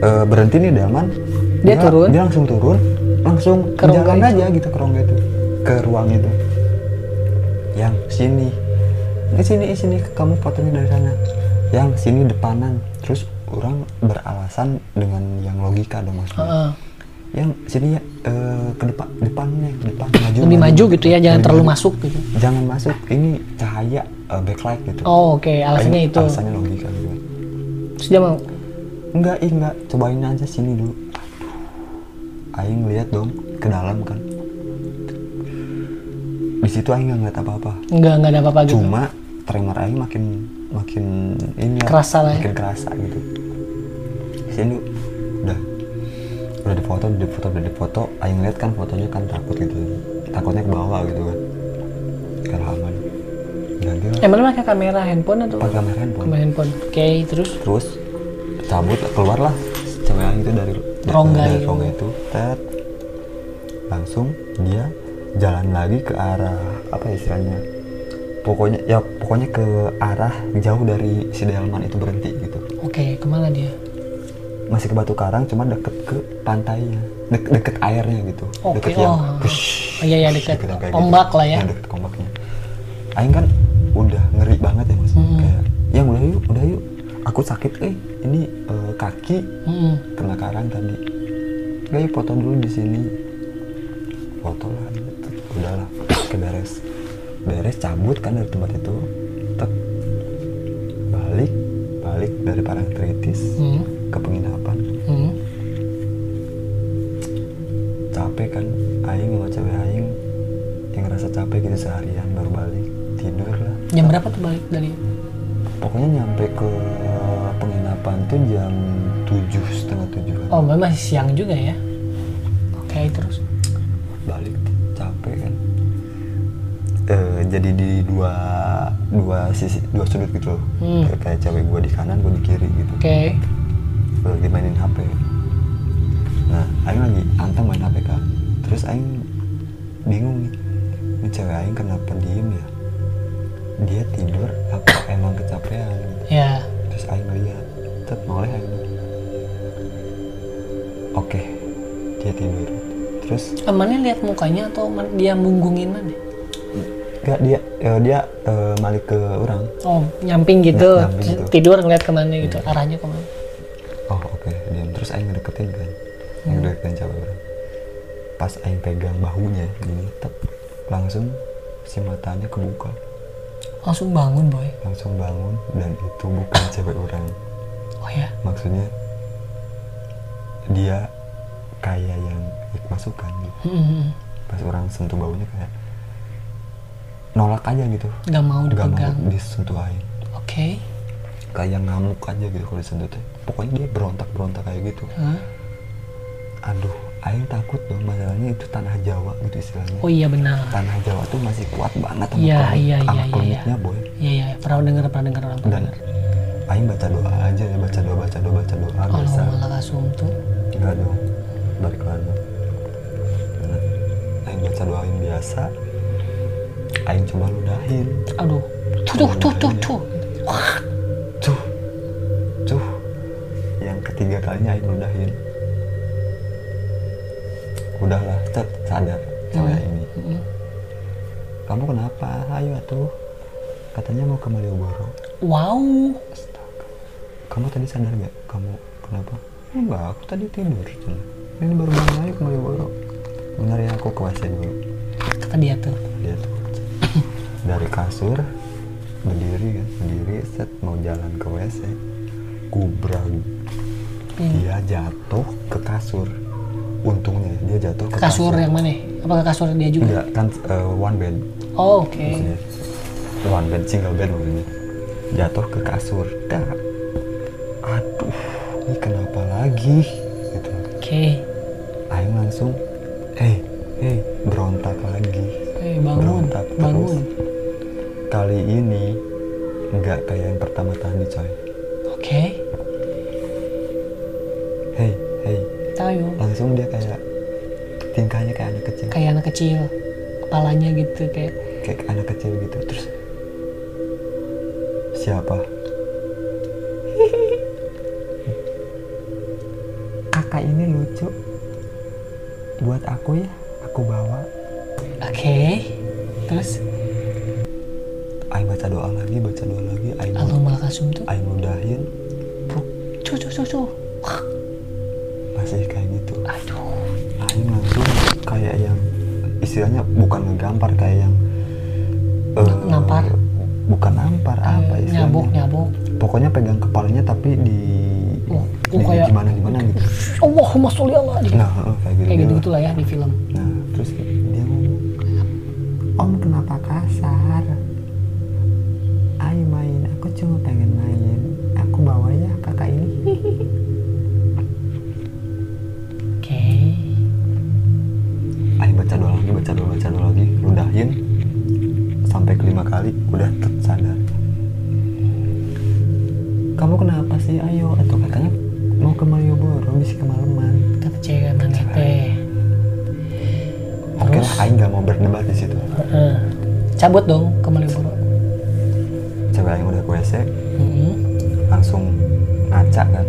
A: eh, berhenti nih Delman
B: Dia turun?
A: dia langsung turun langsung
B: Ke rongga
A: jalan
B: itu?
A: aja gitu ke rongga itu ke ruang itu yang sini ini sini ini sini kamu fotonya dari sana yang sini depanan terus orang beralasan dengan yang logika dong maksudnya
B: Heeh.
A: yang sini ya eh, ke depan depannya depan maju
B: Lebih maju gitu ya, jangan
A: Lebih
B: terlalu
A: maju.
B: masuk gitu.
A: jangan masuk ini cahaya eh, backlight gitu
B: Oh, oke, alasannya
A: Aing-
B: itu.
A: alasannya logika gitu
B: Terus dia mau
A: enggak ih enggak cobain aja sini dulu Aduh. aing lihat dong ke dalam kan di situ aing nggak ngeliat apa apa
B: enggak enggak ada apa-apa gitu.
A: cuma tremor aing makin makin ini lah,
B: Kerasa lah ya.
A: makin kerasa gitu sini udah udah difoto udah difoto udah difoto aing lihat kan fotonya kan takut gitu takutnya ke bawah gitu kan karena aman ganti lah
B: Eh, mana pakai kamera handphone atau
A: pakai kamera handphone
B: kamera handphone? Oke, terus
A: terus cabut keluarlah cewek yang itu dari dari-
B: Rongga
A: dari
B: itu.
A: rongga itu tet langsung dia jalan lagi ke arah apa ya istilahnya pokoknya ya pokoknya ke arah jauh dari si delman itu berhenti gitu
B: Oke, kemana dia?
A: masih ke Batu Karang cuma deket ke pantainya Dek- deket airnya gitu
B: Oke,
A: deket
B: oh.
A: push,
B: Oh, iya, iya,
A: push, gitu,
B: deket
A: yang kayak
B: ombak lah ya.
A: Yang deket ombaknya Aing kan udah ngeri banget ya mas
B: Mm-mm.
A: kayak yang udah yuk udah yuk aku sakit eh ini eh, kaki
B: Hmm,
A: kena karang tadi udah yuk foto dulu di sini foto lah gitu. udahlah ke beres beres cabut kan dari tempat itu tek balik balik dari parangtritis
B: hmm,
A: ke penginapan
B: hmm.
A: capek kan aing sama cewek aing yang ngerasa capek gitu seharian baru balik tidur lah
B: Jam berapa tuh balik dari?
A: pokoknya nyampe ke penginapan tuh jam tujuh setengah tujuhan
B: Oh, memang masih siang juga ya. Oke, terus.
A: balik capek kan Eh, jadi di dua dua sisi dua sudut gitu loh
B: Hmm.
A: Kayak- kayak cewek gue di kanan gue di kiri gitu
B: Oke.
A: Eh, dimainin HP nah Aing lagi anteng main HP kan terus Aing bingung nih ini cewek Aing kenapa diem ya dia tidur apa emang kecapean gitu
B: Ya.
A: terus Aing lihat tet noleh Aing oke dia tidur terus
B: Amannya Eh, lihat mukanya atau man- dia munggungin mana?
A: gak dia eh, dia eh, balik ke orang
B: Oh, nyamping gitu.
A: Ya, nyamping
B: terus
A: gitu.
B: Tidur ngeliat kemana gitu, arahnya kemana?
A: oh oke diam terus Aing ngedeketin kan Aing ngedeketin cewek orang pas Aing pegang bahunya gini tet langsung si matanya kebuka
B: Langsung bangun, boy.
A: langsung bangun dan itu bukan cewek orang
B: Oh ya.
A: maksudnya dia kayak yang masukan gitu.
B: Hmm,
A: pas orang sentuh baunya kayak nolak aja gitu
B: nggak mau
A: nggak mau
B: dipegang.
A: disentuh aing
B: Oke.
A: kayak ngamuk aja gitu kalau disentuh teh pokoknya dia berontak berontak kayak gitu
B: Hah?
A: aduh aing takut dong masalahnya itu tanah jawa gitu istilahnya
B: Oh iya benar.
A: tanah jawa tuh masih kuat banget sama
B: Iya,
A: klemik-
B: iya,
A: sama
B: iya, iya,
A: klemiknya, boy
B: Iya iya, pernah dengar pernah dengar orang pernah
A: dan
B: dengar.
A: aing baca doa aja ya baca doa baca doa baca doa biasa
B: Allahumma laka sumtu.
A: Enggak dong, balik lagi. Nah, Aing baca doain biasa, Aing coba ludahin.
B: Aduh. Tuh tuh tuh tuh tuh.
A: Tuh, tuh. Yang ketiga kalinya Aing ludahin. Udahlah, cet, sadar cewek ini.
B: Mm-mm.
A: Kamu kenapa? Ayo atuh. Katanya mau ke Malioboro.
B: Wow.
A: Astaga. Kamu tadi sadar gak? Kamu kenapa? Enggak, aku tadi tidur. Ini baru bangun aja ke Malioboro. Benar ya, aku ke WC dulu.
B: Kata dia tuh.
A: dia tuh dari kasur berdiri kan berdiri set mau jalan ke WC kubrang
B: Hmm.
A: dia jatuh ke kasur untungnya dia jatuh ke
B: Kasur yang mana? Apa kasur dia juga?
A: enggak kan eh, one bed
B: Oh, Oke.
A: maksudnya one bed single bed maksudnya jatuh ke kasur Dah. aduh ini kenapa lagi gitu
B: Oke.
A: Aing langsung eh eh berontak lagi
B: Eh, bangun.
A: Berontak terus.
B: Bangun.
A: kali ini nggak kayak yang pertama tadi coy
B: Oke.
A: hei hei
B: Tayo.
A: langsung dia kayak tingkahnya kayak anak kecil
B: Kayak anak kecil. Kepalanya gitu kayak
A: kayak anak kecil gitu terus siapa [laughs] kakak ini lucu buat aku ya aku bawa
B: oke. Terus
A: Aing baca doa lagi baca doa lagi Aing
B: Allahumma laka sumtu.
A: Aing mudahin
B: Cuh cuh cuh cuh.
A: masih kayak gitu
B: Aduh.
A: Aing langsung kayak yang istilahnya bukan ngegampar kayak yang eh,
B: Nampar.
A: bukan nampar apa
B: Eh,
A: istilahnya
B: nyabuk nyabuk.
A: pokoknya pegang kepalanya tapi di,
B: Oh,
A: di
B: oh, kayak-
A: gimana gimana gitu
B: Allahumma sholli ala.
A: nah eh, kayak gitu,
B: Kayak gitu gitulah ya di film.
A: nah terus dia ngomong om kenapa kasar ayo main aku cuma pengen main aku bawa ya kakak ini
B: Oke.
A: ayo baca doa lagi baca doa baca doa lagi ludahin sampai kelima kali udah tet, sadar kamu kenapa sih ayo atau katanya mau ke Malioboro bisa kemalaman
B: Kata cewek mana
A: Cewek.
B: teh.
A: oke
B: Terus
A: lah Aing nggak mau berdebat di situ
B: Heeh. cabut dong ke Malioboro.
A: Rangga yang udah ke WC
B: Mm-mm.
A: langsung ngaca kan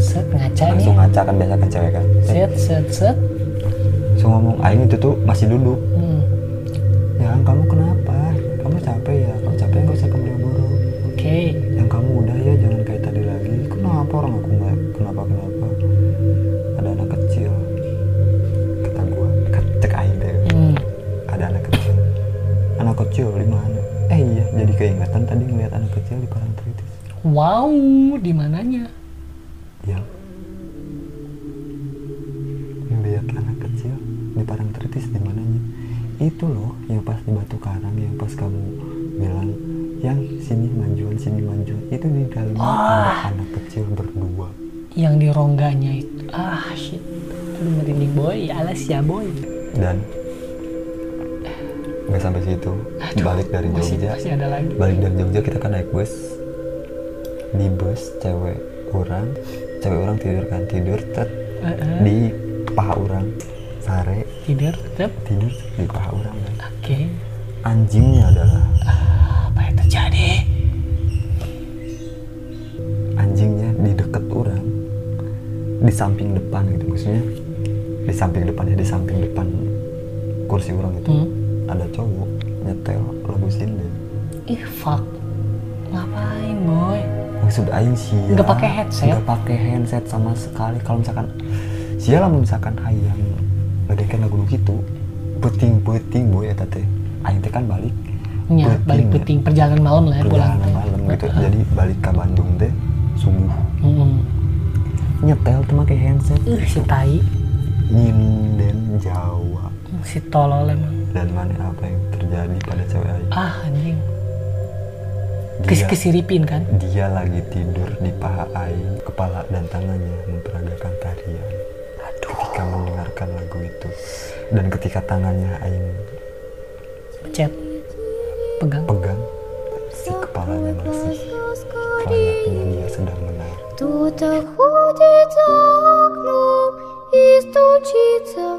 B: set ngaca nih
A: langsung ngaca kan biasa kan cewek kan
B: set set set
A: langsung ngomong Aing itu tuh masih duduk
B: Hmm,
A: yang kamu kenapa kamu capek ya kalau capek nggak usah kamu buru
B: oke
A: yang kamu udah ya jangan kayak tadi lagi kenapa orang aku nggak kenapa kenapa ada anak kecil kata gua "Ke- cek Aing deh
B: Hmm,
A: ada anak kecil anak kecil di mana eh iya jadi keingetan tadi ngeliat anak kecil di kolam kritis
B: wow di mananya
A: yang ngelihat anak kecil di parang tritis di mananya itu loh yang pas di batu karang yang pas kamu bilang yang sini majuan sini majuan itu di dalam ada anak kecil berdua
B: yang di rongganya itu ah shit aduh merinding boy alas ya boy
A: dan nggak sampai situ balik dari
B: masih,
A: Jogja
B: masih ada lagi
A: balik dari Jogja kita kan naik bus di bus cewek orang cewek orang tidur kan tidur tet
B: Heeh.
A: di paha orang sare
B: tidur tetap
A: tidur di paha orang kan.
B: oke
A: anjingnya adalah
B: apa yang terjadi
A: anjingnya di deket orang di samping depan gitu maksudnya di samping depan ya di samping depan kursi orang itu
B: Hmm.
A: ada cowok nyetel lagu sinden
B: ih fuck ngapain boy
A: maksud aing sih ya,
B: Nggak pakai headset?
A: nggak pakai handset sama sekali kalau misalkan sia lah misalkan hayang ngedengerin lagu nu gitu peting peting boy eta teh aing teh kan balik
B: Nya, Iya, balik
A: ya.
B: peting perjalanan malam lah ya pulang
A: perjalanan malam gitu jadi balik ke Bandung teh subuh
B: [laughs] Mm-mm.
A: nyetel tuh pakai handset
B: Ih, si tai
A: nyinden Jawa
B: Hmm, si tolol emang
A: dan mana apa yang terjadi pada cewek aing
B: ah anjing kes
A: dia,
B: kesiripin kan
A: dia lagi tidur di paha aing kepala dan tangannya memperagakan tarian ketika mendengarkan lagu itu dan ketika tangannya aing
B: chat pegang
A: pegang si kepalanya masih layaknya dia sedang menari
C: Кто-то ходит за окном и стучится